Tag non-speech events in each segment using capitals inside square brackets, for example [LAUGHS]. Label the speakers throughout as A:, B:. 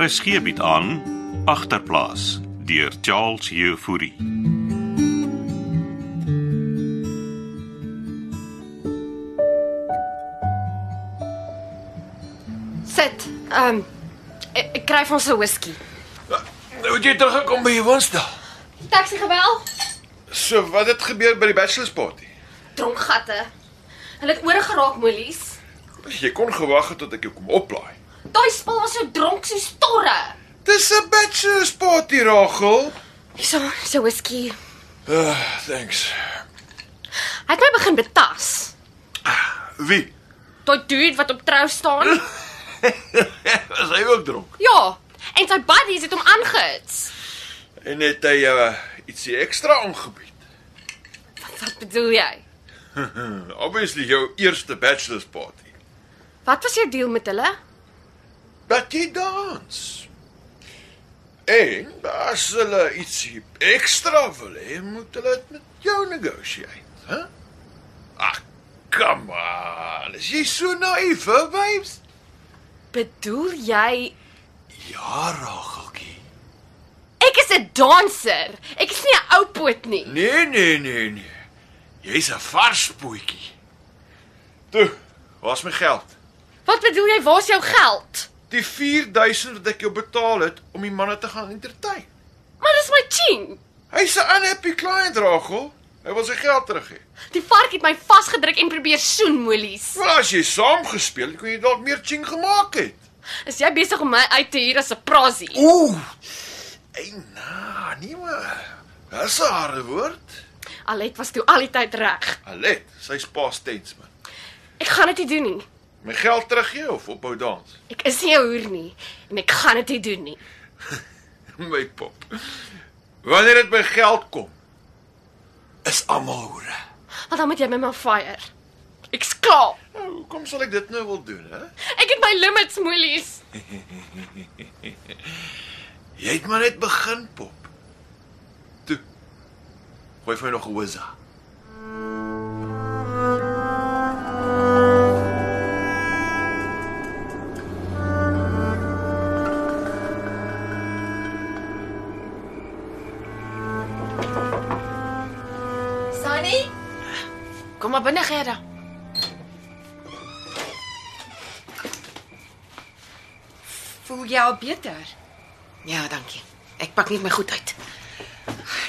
A: RSG bied Er aan agterplaas deur Charles Jefouri.
B: Sit. Ehm um, ek, ek kry vir ons 'n whisky.
C: Nou het jy teruggekom by jou woonstel.
B: Taxi gebel.
C: So wat het gebeur by die bachelor's party?
B: Dronkgatte. Hulle het oor geraak molies.
C: Jy kon gewag het tot ek jou kom oplaai.
B: Daai spul was so dronk so storre.
C: Dis 'n bachelor's party, Rachel.
B: Hierso, so whisky.
C: Uh, thanks.
B: Hy het my begin betas.
C: Wie?
B: Daai dude wat op trou [LAUGHS] staan.
C: [LAUGHS] Was hy ook dronk?
B: Ja, en sy buddies het hom aangehits.
C: En het hy uh, ietsie ekstra aangebied?
B: Wat bedoel jy?
C: Obviously jou eerste bachelor's party.
B: Wat was jou deal met hulle?
C: Dat jy dans. En as hulle ietsie ekstra wil hê, moet hulle dit met jou negotiate, hè? Ag, kom aan. Is jy so naïef, hè, babes?
B: Bedoel jy
C: Ja, Rageltjie.
B: ek is 'n danser? Ek is nie 'n ou poot nie.
C: Nee, nee, nee, nee. Jy's 'n vars poetjie. Toe, waar's my geld?
B: Wat bedoel jy? Waar's jou geld?
C: Die 4000 wat ek jou betaal het om die manne te gaan entertain.
B: Maar dis my ching.
C: Hy's 'n unhappy client, Ragel. Hy wil sy geld terug hê.
B: Die vark het my vasgedruk en probeer soen molies.
C: Maar as jy saam gespeel het, kon jy dalk meer ching gemaak het.
B: Is jy besig om my uit te huur as 'n prasie?
C: Ooh. Ey, na, nee maar. Dis 'n harde woord.
B: Alet was toe al die tyd reg.
C: Alet, sy's pas tens man.
B: Ek gaan dit nie doen nie.
C: My geld teruggee of ophou dans. [LAUGHS]
B: Ek is nie 'n hoer nie en ek gaan dit nie doen nie.
C: My pop. Wanneer dit by geld kom, is almal hoere.
B: Want dan moet jy my maar fire. Ek's klaar.
C: Nou, hoekom sal ek dit nou wil doen, hè?
B: Ek het my limits molies.
C: Jy het maar net begin pop. Toe. Gooi vir my nog 'n whizza.
B: Sunny? Kom maar binne, Gerda.
D: Voel jy al beter?
E: Ja, dankie. Ek pak net my goed uit.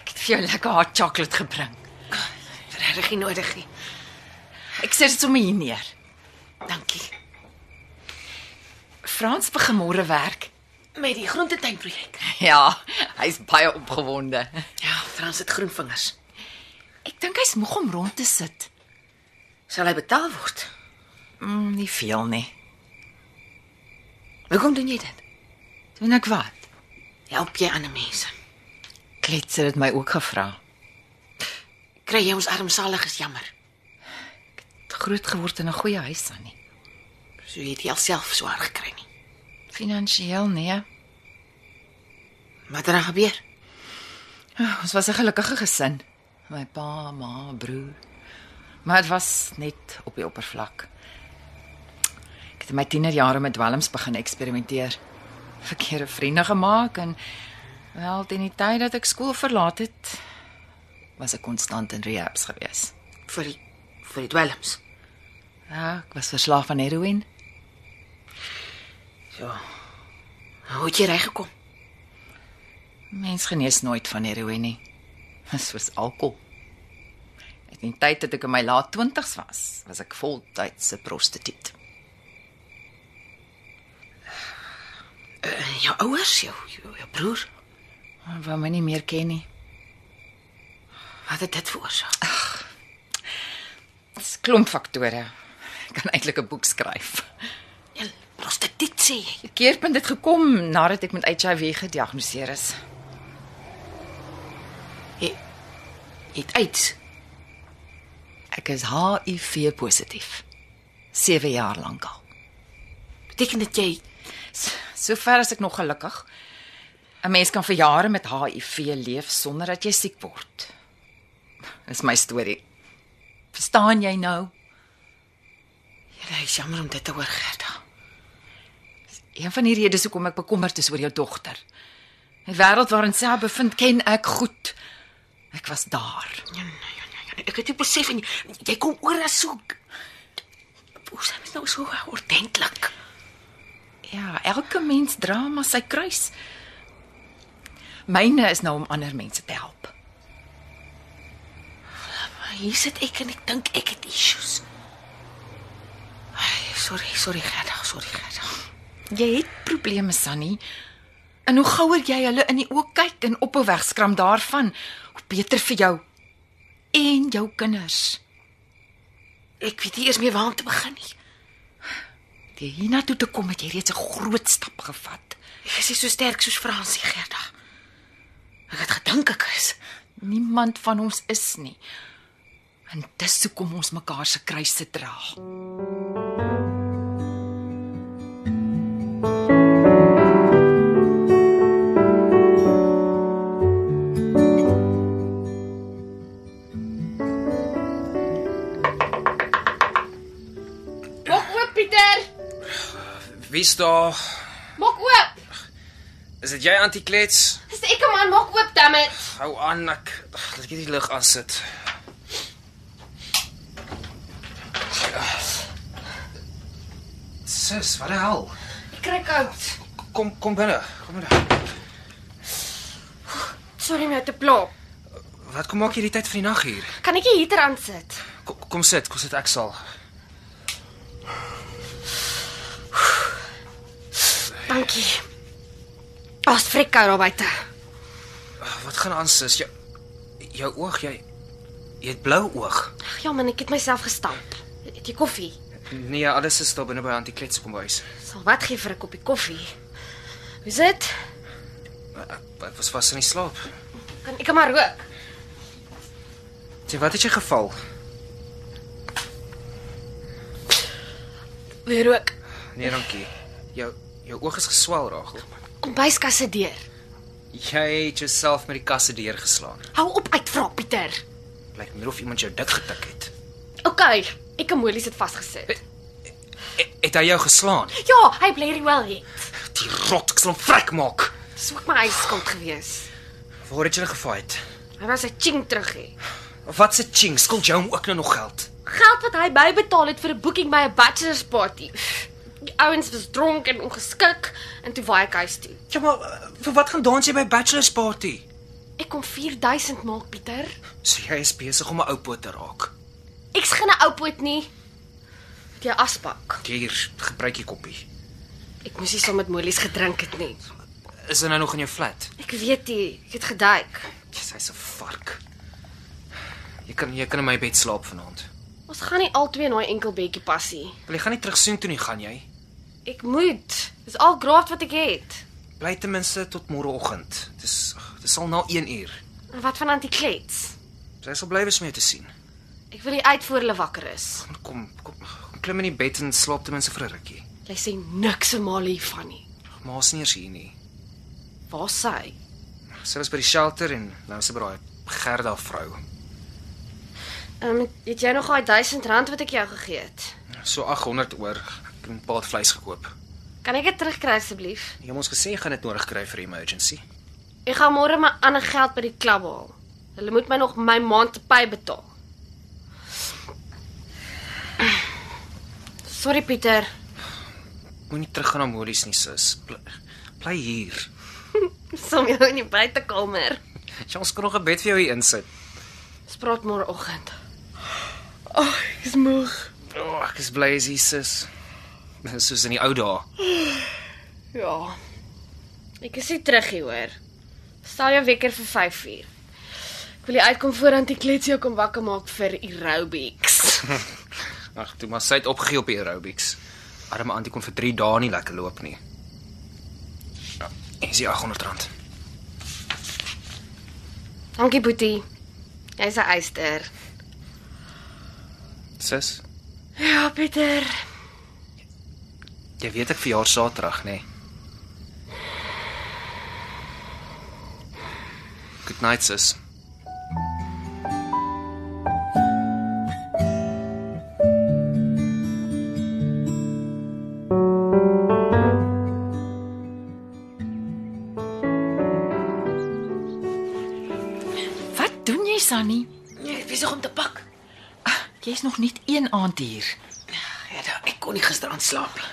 D: Ek het vir jou lekker hot chocolate gebring.
E: Regtig nie nodig nie.
D: Ek sit dit sommer hier neer.
E: Dankie.
D: Frans begin môre werk. [LAUGHS]
E: Met die groentetuinprojek.
D: Ja, hy's baie opgewonde.
E: Ja, Frans het groenvingers.
D: Ek dink hy's moeg om rond te sit.
E: Sal hy betaal word?
D: Mm, nie veel nie.
E: Hoekom doen jy dit?
D: Doen ek wat?
E: Help jy ander mense?
D: Kletser het my ook gevra.
E: Kry jy ons armsaliges jammer?
D: Groot geword in 'n goeie huis aan nie.
E: So jy het jy alself swaar gekry nie.
D: Finansieel nee.
E: Wat het dan gebeur?
D: Ah, Ons was 'n gelukkige gesin. My pa, ma, broer. Maar dit was net op die oppervlak. Ek het in my tienerjare met dwelms begin eksperimenteer. Verkeerde vriende gemaak en wel teen die tyd dat ek skool verlaat het, was ek konstant in rehabs gewees.
E: Vir die vir die dwelms.
D: Ja, ek was verslaaf aan heroïne.
E: So. Hoe het jy reggekom?
D: Mens genees nooit van heroïne nie. Dis soos alkohol. Ek het in die tyd dat ek in my laat 20's was, was ek voltydse prostituut.
E: Uh, jou ouers, jou, jou jou broer.
D: Maar wou my nie meer ken nie.
E: Wat het dit veroorsaak?
D: Dis klomp faktore. Ek kan eintlik 'n boek skryf.
E: Jy prostituut sê jy.
D: Die keerpunt het gekom nadat ek met HIV gediagnoseer is.
E: Jy jy het uit.
D: Ek is HIV positief. 7 jaar lank al.
E: Beteken dit jy
D: S- Sover as ek nog gelukkig. 'n Mens kan vir jare met HIV leef sonder dat jy siek word. Dis my storie. Verstaan jy nou?
E: Jy is jammer om dit te hoor, Gerda.
F: Een Ja, van die redes hoekom ek bekommerd is oor jou dogter. Die wêreld waarin sy haar bevind, ken ek goed. Ek was daar.
E: Ja, Ek het dit besef en jy- jy kom oor as so Hoe sê mens nou so ordentlik?
F: Ja, elke mens dra maar sy kruis. Myne is nou om ander mense te help.
E: Maar Nou, hier sit ek en ek dink ek het issues. Ai, sorry, sorry Gerda, sorry Gerda.
F: Jy het probleme, Sunny. En hoe gouer jy hulle in die oë kyk en op 'n weg skram daarvan, hoe beter vir jou en jou kinders.
E: Ek weet nie eers meer waar om te begin nie.
F: Deur hiernatoe te kom het jy reeds 'n groot stap gevat.
E: Ek is nie so sterk soos Fransie Gerda. Ek het gedink ek is.
F: Niemand van ons is nie. En dis hoekom ons mekaar se kruise dra.
B: Mok oop Pieter.
D: Wie's daar?
B: Mok oop.
D: Is dit jy antiklets?
B: Dis ek man, mok oop damit.
D: Hou aan ek ag, laat ek hierdie lig aan sit. Sis, wat die hel?
B: Ek kry koud.
D: Kom kom binne. Kom binne.
B: Sorry om jou te pla.
D: Wat kom maak jy hierdie tyd van die nag hier?
B: Kan ek nie hier aan sit?
D: Kom, kom sit, kom sit ek sal.
B: Dankie. Pas frik daar buite.
D: Wat gaan aan sis? Jou jou oog, jy jy het blou oog.
B: Ag ja man, ek het myself gestamp. Het jy koffie?
D: Nee, alles is daar binne by antiklets kom huis.
B: Sal wat gee vir 'n koppie koffie? Hoe's dit?
D: Ek, ek was vas in die slaap.
B: Kan ek maar rook?
D: Sê, wat het jy geval?
B: Weer rook.
D: Nee, dankie. Jou jou oog is geswel, Ragel.
B: Kombuiskas se deur.
D: Jy het jouself met die kasse deurgeslaan.
B: Hou op uitvra Pieter.
D: Lyk meer of iemand jou dik getik het.
B: OK, ek en Molly sit vasgesit.
D: E het hy jou geslaan? Ja,
B: Ja, hy bly hier wel het.
D: Die rot, ek sal hom vrek maak.
B: Dis ook my eie skuld gewees.
D: Waar het jy gefight?
B: Hy was 'n ching terug hê.
D: Of wat se ching? Skuld jy hom ook nou nog geld?
B: Geld wat hy bybetaal het vir 'n boeking by 'n bachelor's party. Die ouens was dronk en ongeskik en toe waai ek huis toe.
D: Ja, maar uh, vir wat gaan dans jy by 'n bachelor's party?
B: Ek kom 4000 maak, Pieter.
D: So jy is besig om 'n ou poot te raak.
B: Ek's geen ou poot nie. Met jou aspak.
D: Hier, gebruik die koppie.
B: Ek moes nie saam met Molies gedrink het nie.
D: Is hy nou nog in jou flat?
B: Ek weet nie, ek het geduik.
D: Jy's hy's 'n vark. Jy kan jy kan in my bed slaap vanaand.
B: Ons gaan nie albei in daai enkel bedjie pas nie.
D: Wil jy gaan nie terug soen toe nie, gaan jy?
B: Ek moet. Dis al graad wat ek het.
D: Bly ten minste tot môreoggend. Dis dis al na 1 uur.
B: En wat van antiklets?
D: Sy sal bly wees om jou te sien.
B: Ek wil nie uit voor hulle wakker is.
D: Kom, kom, kom klim in die bed en slaap ten minste vir 'n rukkie.
B: Jy sê niks se mal hiervan nie.
D: Ma is nie eens hier nie.
B: Waar is sy?
D: Sy was by die shelter en nou is sy by daai Gerda vrou.
B: Ehm um, het jy nog daai 1000 rand wat ek jou gegee het?
D: So 800 oor. Ek het 'n paar vleis gekoop.
B: Kan ek dit terugkry asseblief?
D: Jy het ons gesê jy gaan dit nodig kry vir 'n emergency.
B: Ek gaan môre my ander geld by die klub haal. Hulle moet my nog my maand te pay betaal. Sorry Pieter. [LAUGHS]
D: Moenie teruggaan na Molies nie, sus. Bly, bly hier.
B: Som jou in die buitekamer.
D: Jy Ja, ons kan nog 'n bed vir jou hier insit.
B: Ons praat môreoggend. Ag, oh, ek is moeg.
D: O, oh, ek is bly jy's hier, sus. Dis soos in die ou dae.
B: Ja. Ek is nie terug hier hoor. Stel jou wekker vir 5uur. Ek wil nie uitkom voor antiklets jou kom wakker maak vir [LAUGHS] aerobics.
D: Ag, toe maar sy het opgegee op die aerobics. Arme Antie kon vir 3 dae nie lekker loop nie. Ja, is die 800 rand.
B: Dankie Boetie. Jy's 'n eyster.
D: Sis,
B: Ja, Pieter.
D: jy weet ek verjaar Saterdag, nê? Nee. Good night, sis.
G: Ah, nog net een aand hier.
E: Ja, da, ek kon nie gisteraan slaap nie.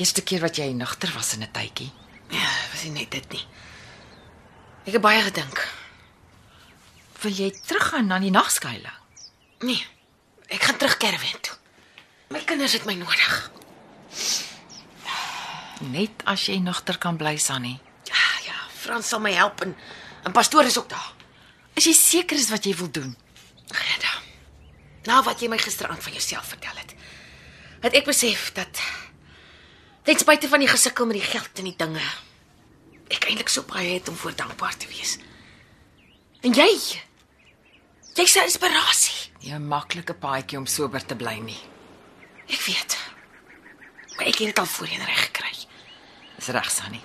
G: Eerste keer wat jy nagter was in 'n tydjie.
E: Ja, was nie net dit nie. Ek het baie gedink.
G: Wil jy teruggaan na die nagskuiling?
E: Nee. Ek gaan terug Kerwin toe. My kinders het my nodig.
G: Net as jy nagter kan bly, Sannie.
E: Ja, ja, Frans sal my help en en pastoor is ook daar.
G: Is jy seker is wat jy wil doen?
E: Gerda. Nou wat jy my gisteraand van jouself vertel het. Het ek besef dat ten spyte van die gesukkel met die geld en die dinge, ek eintlik so baie het om voor dankbaar te wees. En jy? Jy's 'n inspirasie.
G: Jy 'n maklike paadjie om sober te bly nie.
E: Ek weet. Maar ek het dit al voorheen reg gekry.
G: Dis reg, Sannie.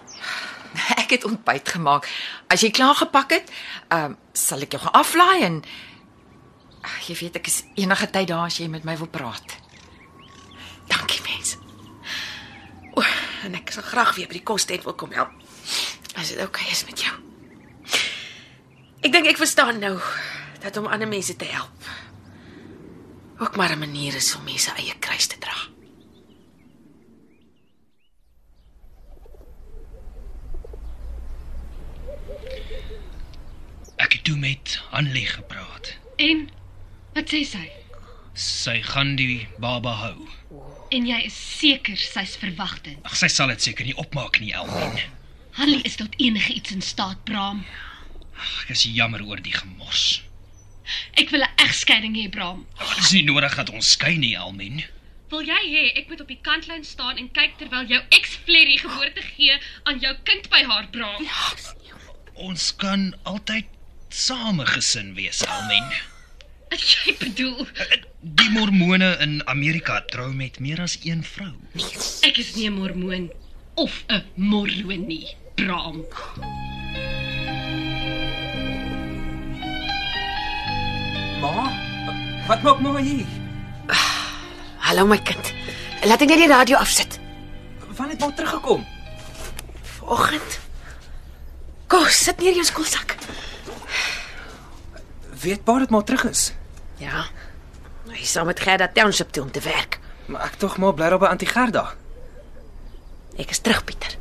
G: Ek het ontbyt gemaak. As jy klaar gepak het, ehm sal ek jou gaan aflaai en Ag, jy weet ek is enige tyd daar as jy met my wil praat.
E: Dankie mens. O, en ek sal graag weer by die kostent wil kom help. As dit oukei okay is met jou. Ek dink ek verstaan nou dat om ander mense te help ook maar 'n manier is om mense eie kruis te dra.
H: Ek het toe met Annelie gepraat.
B: En wat sê sy?
H: Sy gaan die baba hou.
B: En jy is seker sy's verwagtend.
H: Ag, sy sal dit seker nie opmaak nie, Elwin.
B: Hanlie is tot enige iets in staat, Braam.
H: Ag, ek is jammer oor die gemors.
B: Ek wil 'n egskeiding hê, Braam.
H: Ag, Dit is nie nodig dat ons skei nie, Elmen.
B: Wil jy hê ek moet op die kantlyn staan en kyk terwyl jou ex-flerry geboorte gee aan jou kind by haar, Braam?
H: Ons kan altyd same gesin wees, Elmen.
B: Wat jy bedoel?
H: Die mormone in Amerika trou met meer as een vrou.
B: Ek is nie 'n mormoon of 'n morloon nie, Braam.
D: Ma, wat maak ma hier?
E: Hallo my kind. Laat ek net die radio afsit.
D: Wanneer het ma teruggekom?
E: Vanoggend. Kom, sit neer jou skoolsak.
D: Weet pa dat ma terug is?
E: Ja. Nou, Hy is saam met Gerda Township toe om te werk.
D: Maar ek tog ma bly daar by Auntie Gerda.
E: Ek is terug, Pieter.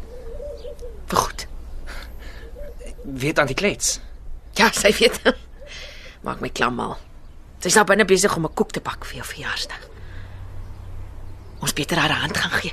E: Vir goed.
D: Weet Auntie Klets?
E: Ja, sy weet. [LAUGHS] Maak my klammal. Sy's nou binne besig om 'n koek te bak vir jou verjaarsdag. Ons Pieter haar 'n hand gaan gee.